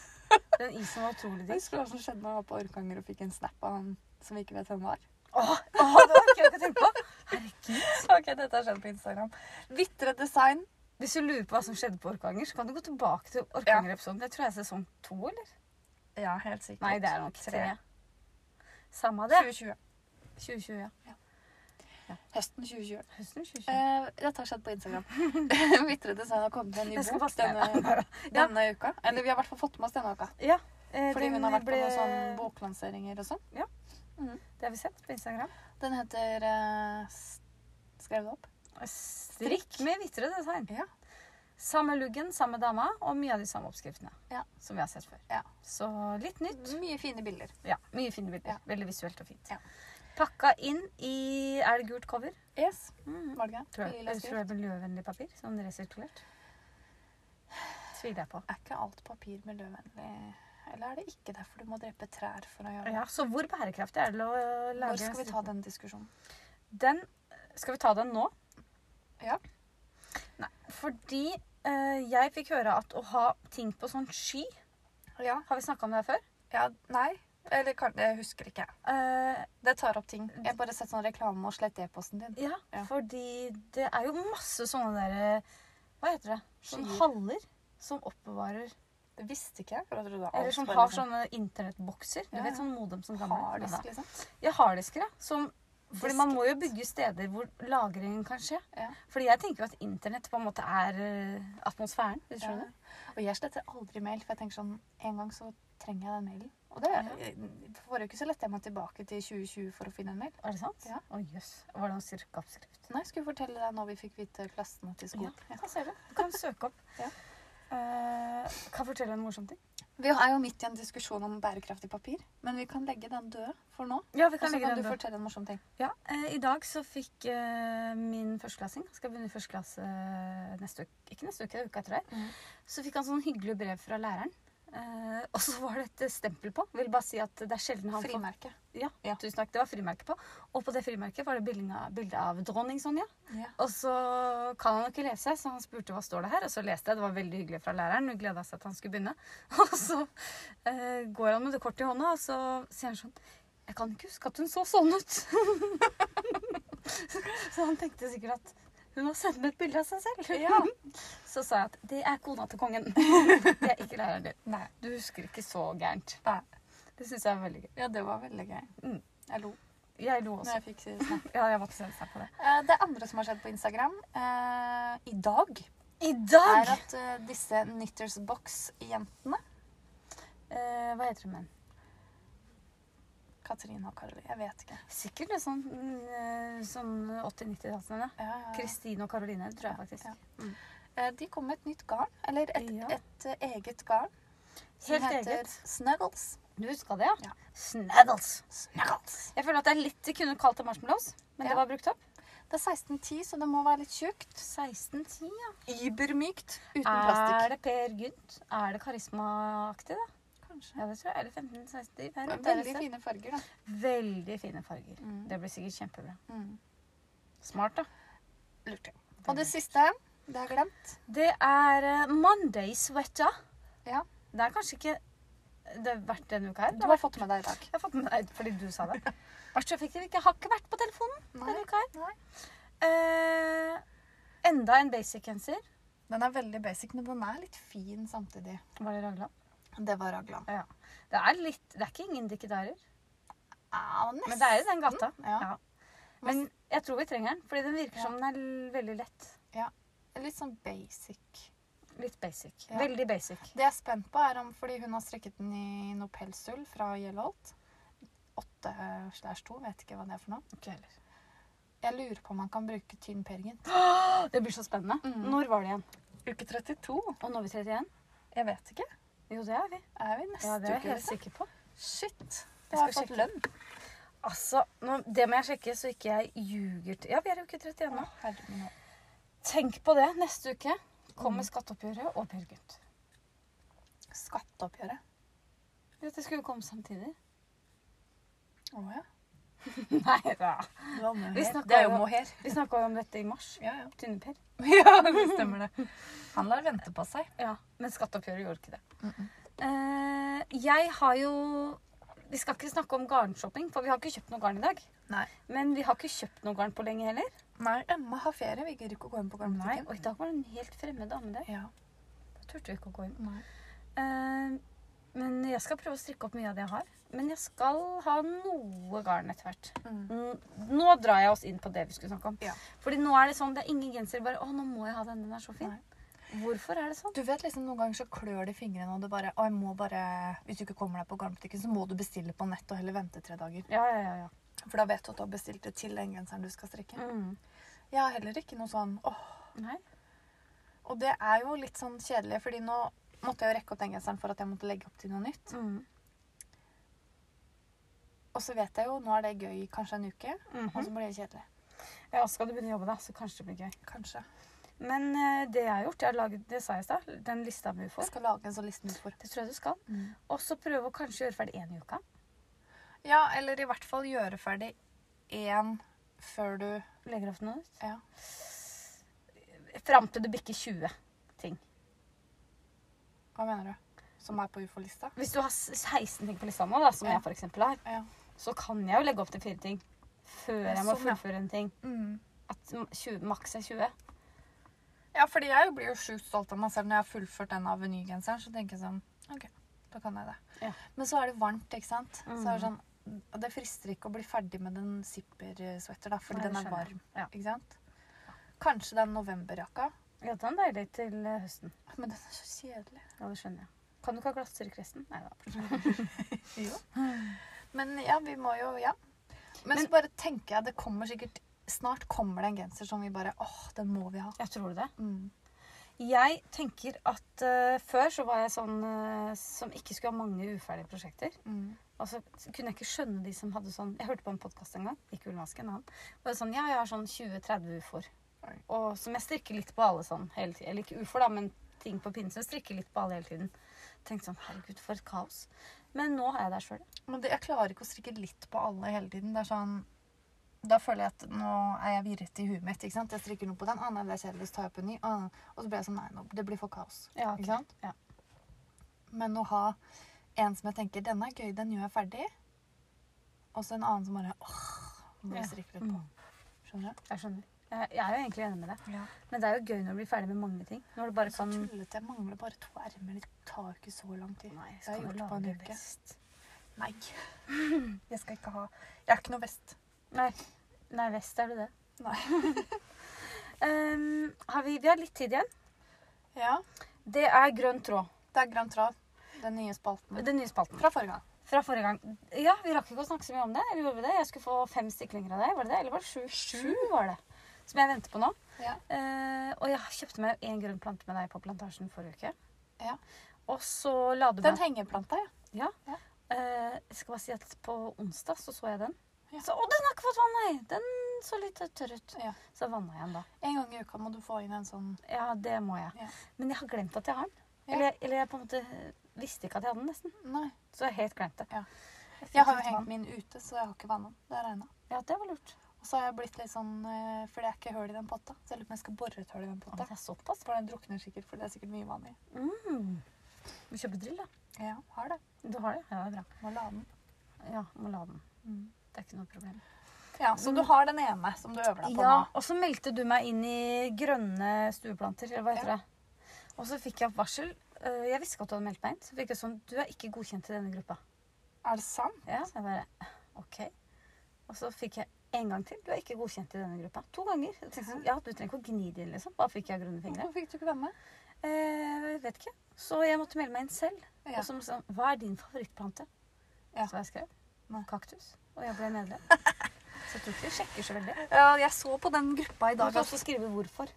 Den isen var utrolig Jeg digg. husker hva som skjedde når jeg var på Orkanger og fikk en snap av han som vi ikke vet hvem var. Åh, åh, det var ikke jeg tenkt på. Herregud. Ok, dette har skjedd på Instagram. Vitre design. Hvis du lurer på hva som skjedde på Orkanger, så kan du gå tilbake til Orkanger-episoden. Det tror jeg er sesong to, eller? Ja, helt sikkert. Nei, det er nok tre. Samme det. 2020. 2020, ja. Høsten 2020. Høsten 2020. Eh, dette har skjedd på Instagram. Vitre design har kommet med en Jeg ny skal bok passe meg. denne, Ja. denne uka. Eller vi har i hvert fall fått med oss denne uka. Ja. eh, Fordi den hun har vært på sånn ble- noen sånne boklanseringer og sånn. Det har vi sett på Instagram. Den heter eh, s- Skrev du det opp? Strikk med hvitere design. Ja. Samme luggen, samme dama, og mye av de samme oppskriftene. Ja. Som vi har sett før. Ja. Så litt nytt. Mye fine bilder. Ja, Mye fine bilder. Ja. Veldig visuelt og fint. Ja. Pakka inn i Er det gult cover? Yes. Mm. Var det gøy? Tror jeg, Lilla jeg tror skrift. det er miljøvennlig papir. Sånn resirkulert. Tviler jeg på. Er ikke alt papir miljøvennlig? Eller er det ikke derfor du må drepe trær for å gjøre det? Ja, Så hvor bærekraftig er det å lage Hvor skal vi ta strikk? den diskusjonen? Den Skal vi ta den nå? Ja. Nei, fordi eh, jeg fikk høre at å ha ting på sånn sky Ja, Har vi snakka om det her før? ja nei. Eller kan, jeg husker ikke. Eh, Det tar opp ting. Jeg har bare sett sånn reklame og slett e-posten din. ja, Ja. fordi det er jo masse sånne derre Hva heter det? Sånne Skyer. haller som oppbevarer Det visste ikke jeg. for da trodde jeg alt Eller som bare har liksom sånne internettbokser. Du Ja, vet ja. sånn modem som gamle. harddisk, Ja, liksom. ja, harddisker, ja. Som, fordi man må jo Diskret. bygge steder hvor lagringen kan skje. Ja. Fordi jeg tenker jo at internett på en måte er eh, atmosfæren. Hvis du Ja. skjønner? Og jeg sletter aldri mail, for jeg tenker sånn En gang så trenger jeg den mailen. Og det for Forrige uke så lette jeg meg tilbake til 2020 for å finne en mail. Er det sant? Ja. Å jøs. Var det noen styrkeoppskrift? Nei, skulle fortelle deg når vi fikk vite klassene til skolen. Ja. jeg ser det. Du kan søke opp. Ja. Eh, kan jeg fortelle en morsom ting? Vi er jo midt i en diskusjon om bærekraftig papir, men vi kan legge den død for nå. Ja, vi Og så kan du død. fortelle en morsom ting. Ja, eh, I dag så fikk eh, min førsteklassing Han skal begynne i første eh, klasse neste uke. Ikke neste uke, det er uka etter der. Mhm. Så fikk han sånn hyggelig brev fra læreren. Eh, og så var det et stempel på. Vil bare si at det er sjelden han får Frimerke. Ja, Ja. tusen takk. Det var frimerke på. Og på det frimerket var det bilde av, bilde av dronning Sonja. Ja. Og så kan han jo ikke lese, så han spurte hva står det her. Og så leste jeg, det var veldig hyggelig fra læreren. Hun gleda seg til han skulle begynne. Og så eh, går han med det kortet i hånda, og så sier han sånn Jeg kan ikke huske at hun så sånn ut. så han tenkte sikkert at hun har sendt meg et bilde av seg selv. Ja. Så sa jeg at det er kona til kongen. Det er ikke læreren din. Nei. Du husker ikke så gærent. Nei. Det syns jeg er veldig gøy. Ja, det var veldig gøy. Mm. Jeg lo Jeg lo når også. jeg fikk si snap. Ja, jeg måtte sende seg på det. Eh, Det andre som har skjedd på Instagram eh, i dag, I er dag! at eh, disse Knitters Box-jentene Eh, hva heter hun igjen? Katrine og Karoline, jeg vet ikke. Sikkert litt sånn, mm, eh, sånn 80-90-tallene. Ja, ja, ja. Kristine og Karoline, tror jeg faktisk. Ja. Eh, De kom med et nytt garn, eller et, Ja. et eh, eget garn. Som Helt heter eget. Snuggles. Du huska det, ja? Ja. Snaddles. Snuggles. Jeg føler at det er litt de kunne kalt det marshmallows, men Ja. det var brukt opp. Det er 1610, så det må være litt tjukt. 1610, ja. Übermykt. Uten Er plastikk. det Per Gynt? Er det karismaaktig, da? Kanskje. Ja, det tror jeg. Eller 1560. Det er Men rundt der Veldig et sted. fine farger, da. Veldig fine farger. Mm. Det blir sikkert kjempebra. Mm. Smart, da. Lurte. Og det siste, det har jeg glemt. Det er eh, Monday sweater. Ja. Det er kanskje ikke Det har vært denne uka her. Du har fått med deg i dag. Jeg har fått med deg fordi du sa det. Vært så effektiv. Ikke, jeg har ikke vært på telefonen Nei. denne uka her. Nei. Eh, enda en basic-genser. Den er veldig basic, men den er litt fin samtidig. Var det Ragland? Det var Raglan. Ja. Det er litt Det er ikke ingen dikkedarer, Ja, Ah, nesten. men det er i den gata. Ja. Men jeg tror vi trenger den, fordi den virker Ja. som den er l- veldig lett. Litt sånn basic. Litt basic. Ja. Veldig basic. Det jeg er spent på, er om fordi hun har strikket den i noe pelsull fra Gjellholt. 8 slash 2, vet ikke hva det er for noe. Jeg lurer på om man kan bruke tynn pergint. Å, Det blir så spennende. Mm. Når var det igjen? Uke 32? Og når er vi 31? Jeg vet ikke. Jo, det er vi. Er vi neste Ja, det er jeg uke? helt sikker på. Shit. Jeg Jeg har skal fått sjekke. lønn. Altså, nå, Det må jeg sjekke, så ikke jeg ljuger til Ja, vi er jo ikke 31 nå. Å, herre min. Tenk på det. Neste uke kommer Mm. skatteoppgjøret og Per Gynt. Skatteoppgjøret. Dette skulle jo komme samtidig. Å ja. Nei da. Det var mohair. Vi snakker det er jo- jo mohair. Vi snakka jo om dette i mars. Ja, ja. Tynne-Per. ja, det stemmer det. Han lar vente på seg. Ja, men skatteoppgjøret gjorde ikke det. Mm -mm. Eh, jeg har jo Vi skal ikke snakke om garnshopping, for vi har ikke kjøpt noe garn i dag. Nei. Men vi har ikke kjøpt noe garn på lenge heller. Nei, Emma har ferie. Vi gidder ikke å gå inn på Nei, garnbutikken. Og i dag var det en helt fremmed dame der. Ja. Da turte vi ikke å gå inn. Nei. Eh, men jeg skal prøve å strikke opp mye av det jeg har. Men jeg skal ha noe garn etter hvert. Mm. Mm, Nå drar jeg oss inn på det vi skulle snakke om. Ja. Fordi nå er det sånn, det er ingen genser bare Å, nå må jeg ha den, den er så fin. Nei. Hvorfor er det sånn? Du vet liksom Noen ganger så klør det i fingrene, og du bare, å, jeg må bare Hvis du ikke kommer deg på garnbutikken, så må du bestille på nett og heller vente tre dager. Ja, ja, ja. ja. For da vet du at du har bestilt det til den genseren du skal strikke. Mm. Jeg har heller ikke noe sånn åh. Nei. Og det er jo litt sånn kjedelig, fordi nå måtte jeg jo rekke opp den genseren for at jeg måtte legge opp til noe nytt. Mm. Og så vet jeg jo, nå er det gøy i kanskje en uke, og Mm-hmm. så blir det kjedelig. Ja, skal du begynne å jobbe, da, så kanskje det blir gøy. Kanskje. Men eh, det jeg har gjort, jeg har laget, det sa jeg i stad, den lista vi Jeg får. skal lage en sånn liste nå for. Det tror jeg du skal. Og så prøve å kanskje gjøre ferdig én i uka. Ja, eller i hvert fall gjøre ferdig én før du Legger opp til noe nytt. Ja. Fram til du bikker 20 ting. Hva mener du? Som er på ufo-lista? Hvis du har s- 16 ting på lista nå, da, som Ja. jeg for eksempel har, Ja. så kan jeg jo legge opp til fire ting før jeg må Sånn, ja. fullføre en ting. At m- 20, maks er 20. Ja, fordi jeg blir jo sjukt stolt av meg selv når jeg har fullført den avenygenseren. Så tenker jeg sånn OK, da kan jeg det. Ja. Men så er det varmt, ikke sant. Så er det Mhm. sånn og Det frister ikke å bli ferdig med den zipper-sweater, da, fordi Nei, det den er skjønner varm. jeg. Ja. Ikke sant? Kanskje den novemberjakka. Ja, den er deilig til eh, høsten. Men den er så kjedelig. Ja, det skjønner jeg. Kan du ikke ha glasstørk resten? Nei da. Jo. Men ja, vi må jo Ja. Men, Men- så bare tenker jeg det kommer sikkert Snart kommer det en genser som vi bare Åh, den må vi ha. Jeg tror det. Mm. Jeg tenker at eh, før så var jeg sånn eh, som ikke skulle ha mange uferdige prosjekter. Mm. Og så Altså, kunne jeg ikke skjønne de som hadde sånn Jeg hørte på en podkast en gang, ikke Ullmasken, han. Og det er sånn, ja, jeg har sånn 20-30 ufoer. Oi. Og som jeg strikker litt på alle sånn hele tiden. Eller ikke ufoer, da, men ting på pinne, så jeg strikker litt på alle hele tiden. Tenkte sånn, herregud, for et kaos. Men nå er jeg der sjøl. Men det, jeg klarer ikke å strikke litt på alle hele tiden. Det er sånn Da føler jeg at nå er jeg virret i huet mitt. ikke sant? Jeg strikker noe på den. Å nei, det er kjedelig, så tar jeg opp en ny. Å, og så blir jeg sånn Nei, nå, det blir for kaos. Ja, Ikke sant? Ja. Men å ha en som jeg tenker Denne er gøy, den gjør jeg ferdig. Og så en annen som bare åh, må Ja. jeg strikke litt på. Skjønner du? Mm. Jeg skjønner. Jeg, jeg er jo egentlig enig med deg. Ja. Men det er jo gøy når du blir ferdig med mange ting. Når du bare Så kan tullete. Jeg mangler bare to ermer. Det tar jo ikke så lang tid. Nei, jeg har skal gjort du det på en lage uke. vest? Nei. Jeg skal ikke ha Jeg er ikke noe vest. Nei, Nei, vest er du det. Nei. Ehm, har vi, vi har litt tid igjen. Ja. Det er grønn tråd. Det er grønn tråd. Den nye spalten. Mm. Den nye spalten. Fra forrige gang. Fra forrige gang. Ja, vi rakk ikke å snakke så mye om det. Eller gjorde vi det? Jeg skulle få fem stiklinger av deg. Var det det? Eller var det sju? Sju var det. Som jeg venter på nå. Ja. Eh, og jeg kjøpte meg en grønn plante med deg på plantasjen forrige uke. Ja. Og så la du Den meg hengeplanta, ja. Ja. Ja. Eh, jeg skal bare si at på onsdag så så jeg den. Ja. Så, å, den har ikke fått vann, nei! Den så litt tørr ut. Ja. Så vanna jeg den da. En gang i uka må du få inn en sånn Ja, det må jeg. Ja. Men jeg har glemt at jeg har den. Ja. Eller, jeg- eller jeg på en måte visste ikke at jeg hadde den, nesten. Nei. Så jeg har helt glemt det. Ja. Jeg, fikk Jeg har jo litt vann. hengt min ute, så jeg har ikke vannet den. Det har regna. Ja, det var lurt. Og så har jeg blitt litt sånn eh, For det er ikke hull i den potta. Så jeg lurer på om jeg skal bore et hull i den Å, potta. det er såpass. For den drukner sikkert, for det er sikkert mye vann i. Mm. Du kjøper drill, da. Ja, har det. Du har det? Ja, det er bra. Mm. Må lade den. Ja, må lade den. Det er ikke noe problem. Ja, Så du har den ene som du øver deg på Ja, nå. og så meldte du meg inn i grønne stueplanter, eller hva heter Ja. det? Og så fikk jeg opp varsel. Eh, Jeg visste ikke at du hadde meldt meg inn. Så fikk jeg sånn, du er ikke godkjent i denne gruppa. Er det sant? Ja, så jeg bare, ok. Og så fikk jeg en gang til, du er ikke godkjent i denne gruppa. To ganger. Jeg tenkte sånn, ja, du trenger ikke å gni det inn, liksom. Bare fikk jeg grønne fingre. Hvorfor fikk du ikke være med? Eh, vet ikke. Så jeg måtte melde meg inn selv. Ja. Og så måtte jeg sånn, hva er din favorittplante? Ja. Så jeg skrev, Nei. kaktus. Og jeg ble medlem. så jeg tror ikke vi sjekker så veldig. Ja, jeg så på den gruppa i Du dag kan at også skrive hvorfor.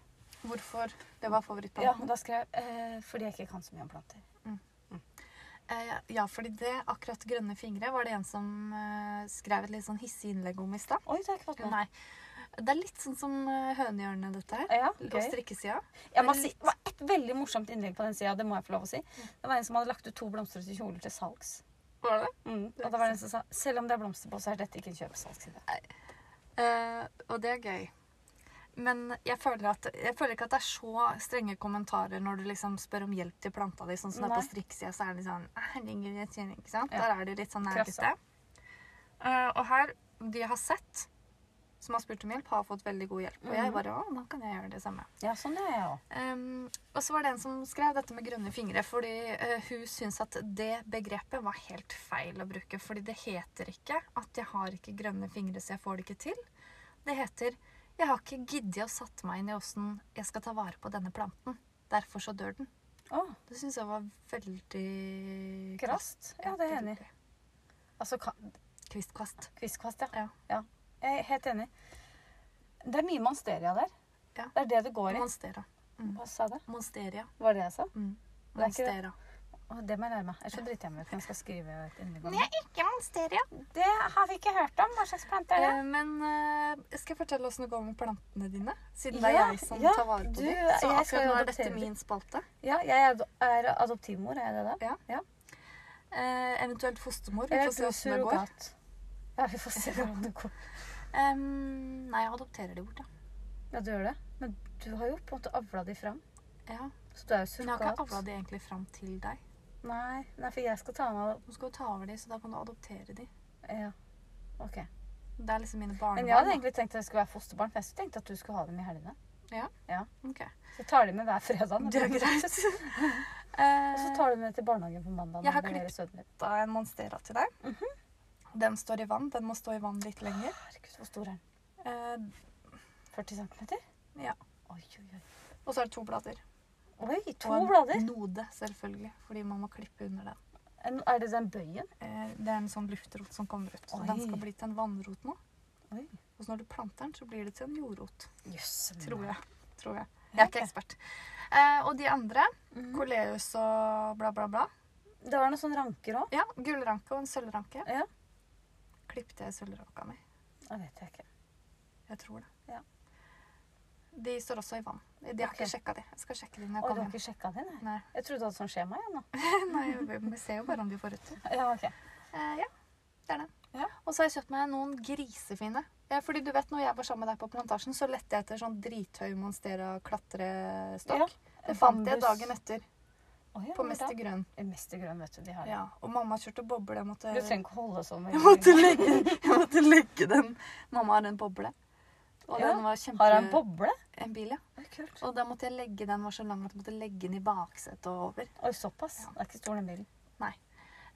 hvorfor det var Ja, favorittplanten. da skrev jeg eh, fordi jeg ikke kan så mye om planter. Eh, ja, fordi det, akkurat grønne fingre, var det en som eh, skrev et litt sånn hissig innlegg om i stad. Oi, det har jeg ikke fått med. Nei. Det er litt sånn som eh, hønehjørnet, dette her. Ja, På gøy. strikkesida. Jeg må si, det var et veldig morsomt innlegg på den sida. Det må jeg få lov å si. Det var en som hadde lagt ut to blomstrete kjoler til salgs. Var det? Mm. Og da var det en som sa selv om det er blomster på, så er dette ikke en kjøpesalgsside. Eh, og det er gøy. Men jeg føler, at, jeg føler ikke at det er så strenge kommentarer når du liksom spør om hjelp til planta di. Sånn som det er Nei. på strikkesida, så er det litt sånn Herregud, jeg kjenner ikke sant? Ja. Der er det litt sånn nærmeste. Krasser. Eh, og her, de jeg har sett, som har spurt om hjelp, har fått veldig god hjelp. Og jeg Mhm. bare Å, nå kan jeg gjøre det samme. Ja, sånn gjør jeg òg. Ehm, og så var det en som skrev dette med grønne fingre, fordi eh, hun syntes at det begrepet var helt feil å bruke. Fordi det heter ikke at 'jeg har ikke grønne fingre, så jeg får det ikke til'. Det heter 'jeg har ikke giddet å satt meg inn i åssen jeg skal ta vare på denne planten'. Derfor så dør den. Å, Det syns jeg var veldig krast. Ja, det er jeg enig i. Altså ka- Kvistkvast. kvistkvast, ja. Ja. ja. Jeg er helt enig. Det er mye monsteria der. Ja. Det er det det går i. Monstera. Hva sa det? Monsteria. Var det jeg sa? Mm. Det er ikke det. Monstera. Å, det må jeg lære meg. Ellers så driter jeg meg ut når jeg skal skrive et innlegg om det. Nei, ikke monsteria. Det har vi ikke hørt om. Hva slags plante er det? Eh, Men eh, skal jeg fortelle åssen det går med plantene dine? Siden det Ja, er jeg som ja, tar vare du- eh, på dem. Så jeg skal akkurat jo nå er adoptere dette dem. min spalte. Ja, jeg er, er adoptivmor, er jeg det da? Ja. Eh, eventuelt fostermor. Vi Eller får se åssen det går. surrogat. Ja, vi får se hvordan det går. Em, nei, jeg adopterer de bort, ja. Ja, du gjør det. Men du har jo på en måte avla de fram. ja. Så du er jo Men jeg har ikke surrogat. avla de egentlig fram til deg. Nei, nei, for jeg skal ta meg av Nå skal du ta over de, så da kan du adoptere de. Ja. Ok. Det er liksom mine Men jeg hadde barnebarn. egentlig tenkt at jeg skulle være fosterbarn, for jeg tenkte at du skulle ha dem i helgene. da. Ok. Så jeg tar dem med hver fredag. når Det er du- greit. Og så Eh, tar du dem med til barnehagen på mandag. Jeg har når dere klippet- sødmer. da er en monstera til deg. Mhm. Den står i vann. Den må stå i vann litt lenger. Herregud, hvor stor er den? Eh, 40 cm? ja. Oi, oi, oi. Og så er det to blader. Oi, to Og en blader? Node, selvfølgelig. Fordi man må klippe under den. En- Er det den bøyen? Eh, Det er en sånn luftrot som kommer ut. Så Oi. den skal bli til en vannrot nå. Oi. Og så når du planter den, så blir det til en jordrot. Jøss. Tror jeg. Tror jeg. jeg er ikke ekspert. Eh, og de andre, Mhm. Coleus og bla, bla, bla. Det var noen sånne ranker òg. Ja, gullranke og en sølvranke. Ja. Klippte jeg sølvranka mi. Det vet jeg ikke. Jeg tror det. Ja. De står også i vann. De har Ok. ikke sjekka de. Jeg skal sjekke de når Oi, jeg du har kommer hjem. ikke sjekka det, nei? Nei. Jeg trodde du hadde sånn skjema igjen nå. Nei, vi- vi ser jo bare om de får ut. Ja, ok. Eh, ja, det er det. Ja. Og så har jeg kjøpt meg noen grisefine. Ja, fordi du vet, når jeg var sammen med deg på plantasjen, så lette jeg etter sånn drithøy monstera klatrestokk. det fant jeg dagen etter Å, ja, på men Mester da- Grønn. Mestergrønn, vet du. De har det. Ja, og mamma kjørte boble. Jeg måtte, Du trenger ikke holde sånn. med jeg måtte, legge, jeg måtte legge den. Mamma har en boble. Og Ja, den var kjempe... Har han boble? En bil, ja. Oi, kult. Og da måtte jeg legge den, den var så lang at jeg måtte legge den i baksetet og over. Oi, såpass. Ja. Det er ikke stor, den bilen.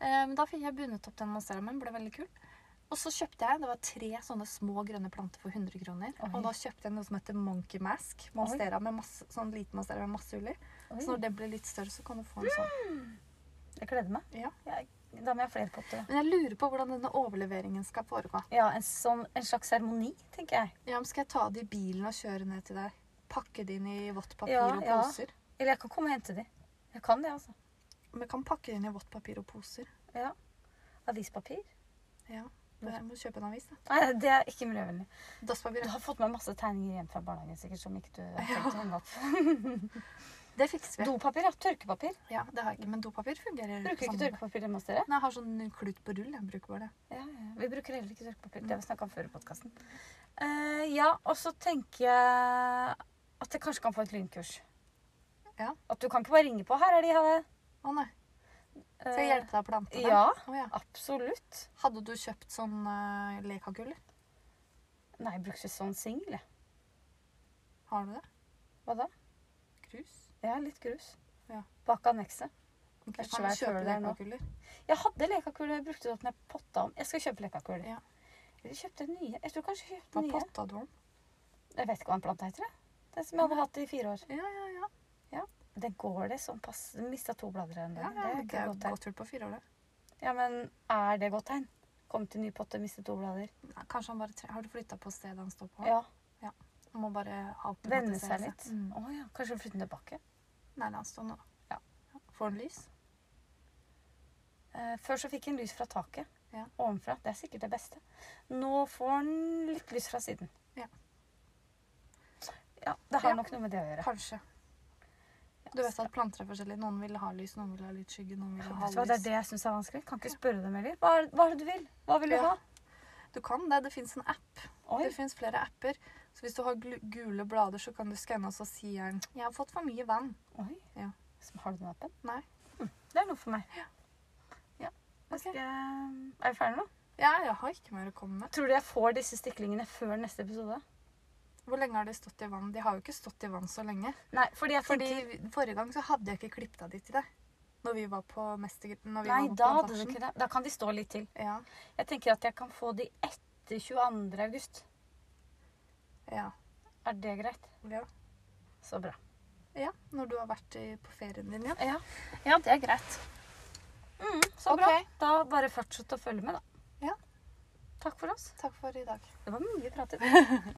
Eh, Men da fikk jeg bundet opp den monsteraen min. Ble veldig kul. Og så kjøpte jeg det var tre sånne små grønne planter for 100 kroner. Oi. Og da kjøpte jeg noe som heter Monkey Mask. Monstera med masse, sånn liten monstera med masse huller. Oi, Så når den blir litt større, så kan du få en sånn. Jeg gleder meg. Ja. Jeg, da må jeg ha flere potter. da. Men jeg lurer på hvordan denne overleveringen skal foregå. Ja, en, sånn, en slags seremoni, tenker jeg. Ja, men Skal jeg ta det i bilen og kjøre ned til deg? Pakke det inn i vått papir Ja, og ja. poser? Eller jeg kan komme og hente de. Jeg kan det, altså. Vi kan pakke det inn i vått papir og poser. Ja. Avispapir? Ja. Du jeg må kjøpe en avis, da. Nei, det er ikke miljøvennlig. Dasspapir. Du har fått med masse tegninger hjem fra barnehagen sikkert som ikke du har tenkt å henge opp. Det fikser vi. Dopapir, ja. Tørkepapir. Ja, det har jeg ikke, Men dopapir fungerer. på Bruker ikke samme måte. tørkepapir hjemme hos dere? Nei, jeg har sånn klut på rull. Jeg bruker bare det. Ja, ja. Vi bruker heller ikke tørkepapir. Det har vi snakka om før i podkasten. ja, og så tenker jeg at jeg kanskje kan få et lynkurs. Ja. At du kan ikke bare ringe på. Her er de, ha det. Eh, Å nei. Skal jeg hjelpe deg å plante dem? Ja, Å, ja. absolutt. Hadde du kjøpt sånn uh, lekakuller? Nei, jeg brukte sånn singel, jeg. Har du det? Hva da? Krus? Ja, litt grus. Ja. Bak annekset. Ok, Det er kan du svært kjøpe høl der nå. lekakuller? Jeg hadde lekakuler, jeg brukte det opp når jeg potta om. Jeg skal kjøpe lekakuler. Ja. Eller kjøpte jeg nye. Jeg tror kanskje jeg kjøpte Hva nye. potta du om? Jeg vet ikke hva en plante heter, jeg. Den som jeg hadde hatt i fire år. Ja, ja, ja. Det går det sånn pass. Mista to blader igjen. ja, ja det er det ikke er et jo godt tegn. godt hull på fire år, det. Ja, men er det godt tegn? Kom til ny potte, mistet to blader. Nei, Kanskje han bare tre... Har du flytta på stedet han står på? Ja. Han må bare alltid Vende motivere seg litt. Å Mm. ja. Kanskje flytte den tilbake. Nei, la han stå nå. Ja. Får han lys? Eh, før så fikk han lys fra taket. Ja. Ovenfra. Det er sikkert det beste. Nå får han litt lys fra siden. Ja. Ja, det har Ja. nok noe med det å gjøre. Kanskje. Du vet at planter er forskjellige. Noen vil ha lys, noen vil ha litt skygge, noen vil Vet ha du hva, det er halvlys. det jeg syns er vanskelig. Kan ikke spørre dem heller. Hva er, hva er det du vil? Hva vil du Ja. ha? Du kan det. Det fins en app. Oi. Det fins flere apper. Så hvis du har glu- gule blader, så kan du skanne, og så sier den 'Jeg har fått for mye vann'. Oi. Ja. Som Har du den appen? Hm, Nei. Det er noe for meg. Ja. Jeg Ok. Skal, eh, er vi ferdige nå? Ja, jeg har ikke mer å komme med. Tror du jeg får disse stiklingene før neste episode? Hvor lenge har de stått i vann? De har jo ikke stått i vann så lenge. Nei, fordi jeg Fordi tenker- Forrige gang så hadde jeg ikke klippet av de til deg. Når vi var på Mestergr... Når vi Nei, var på da hadde du plantasjen. ikke det. Da kan de stå litt til. Ja, Jeg tenker at jeg kan få de etter 22. august. ja, Er det greit? ja. Så bra. Ja, når du har vært i- på ferien din, ja. Ja, Ja, det er greit. Mm, så Ok. bra. Da bare fortsett å følge med, da. Ja. Takk for oss. Takk for i dag. Det var mye pratet.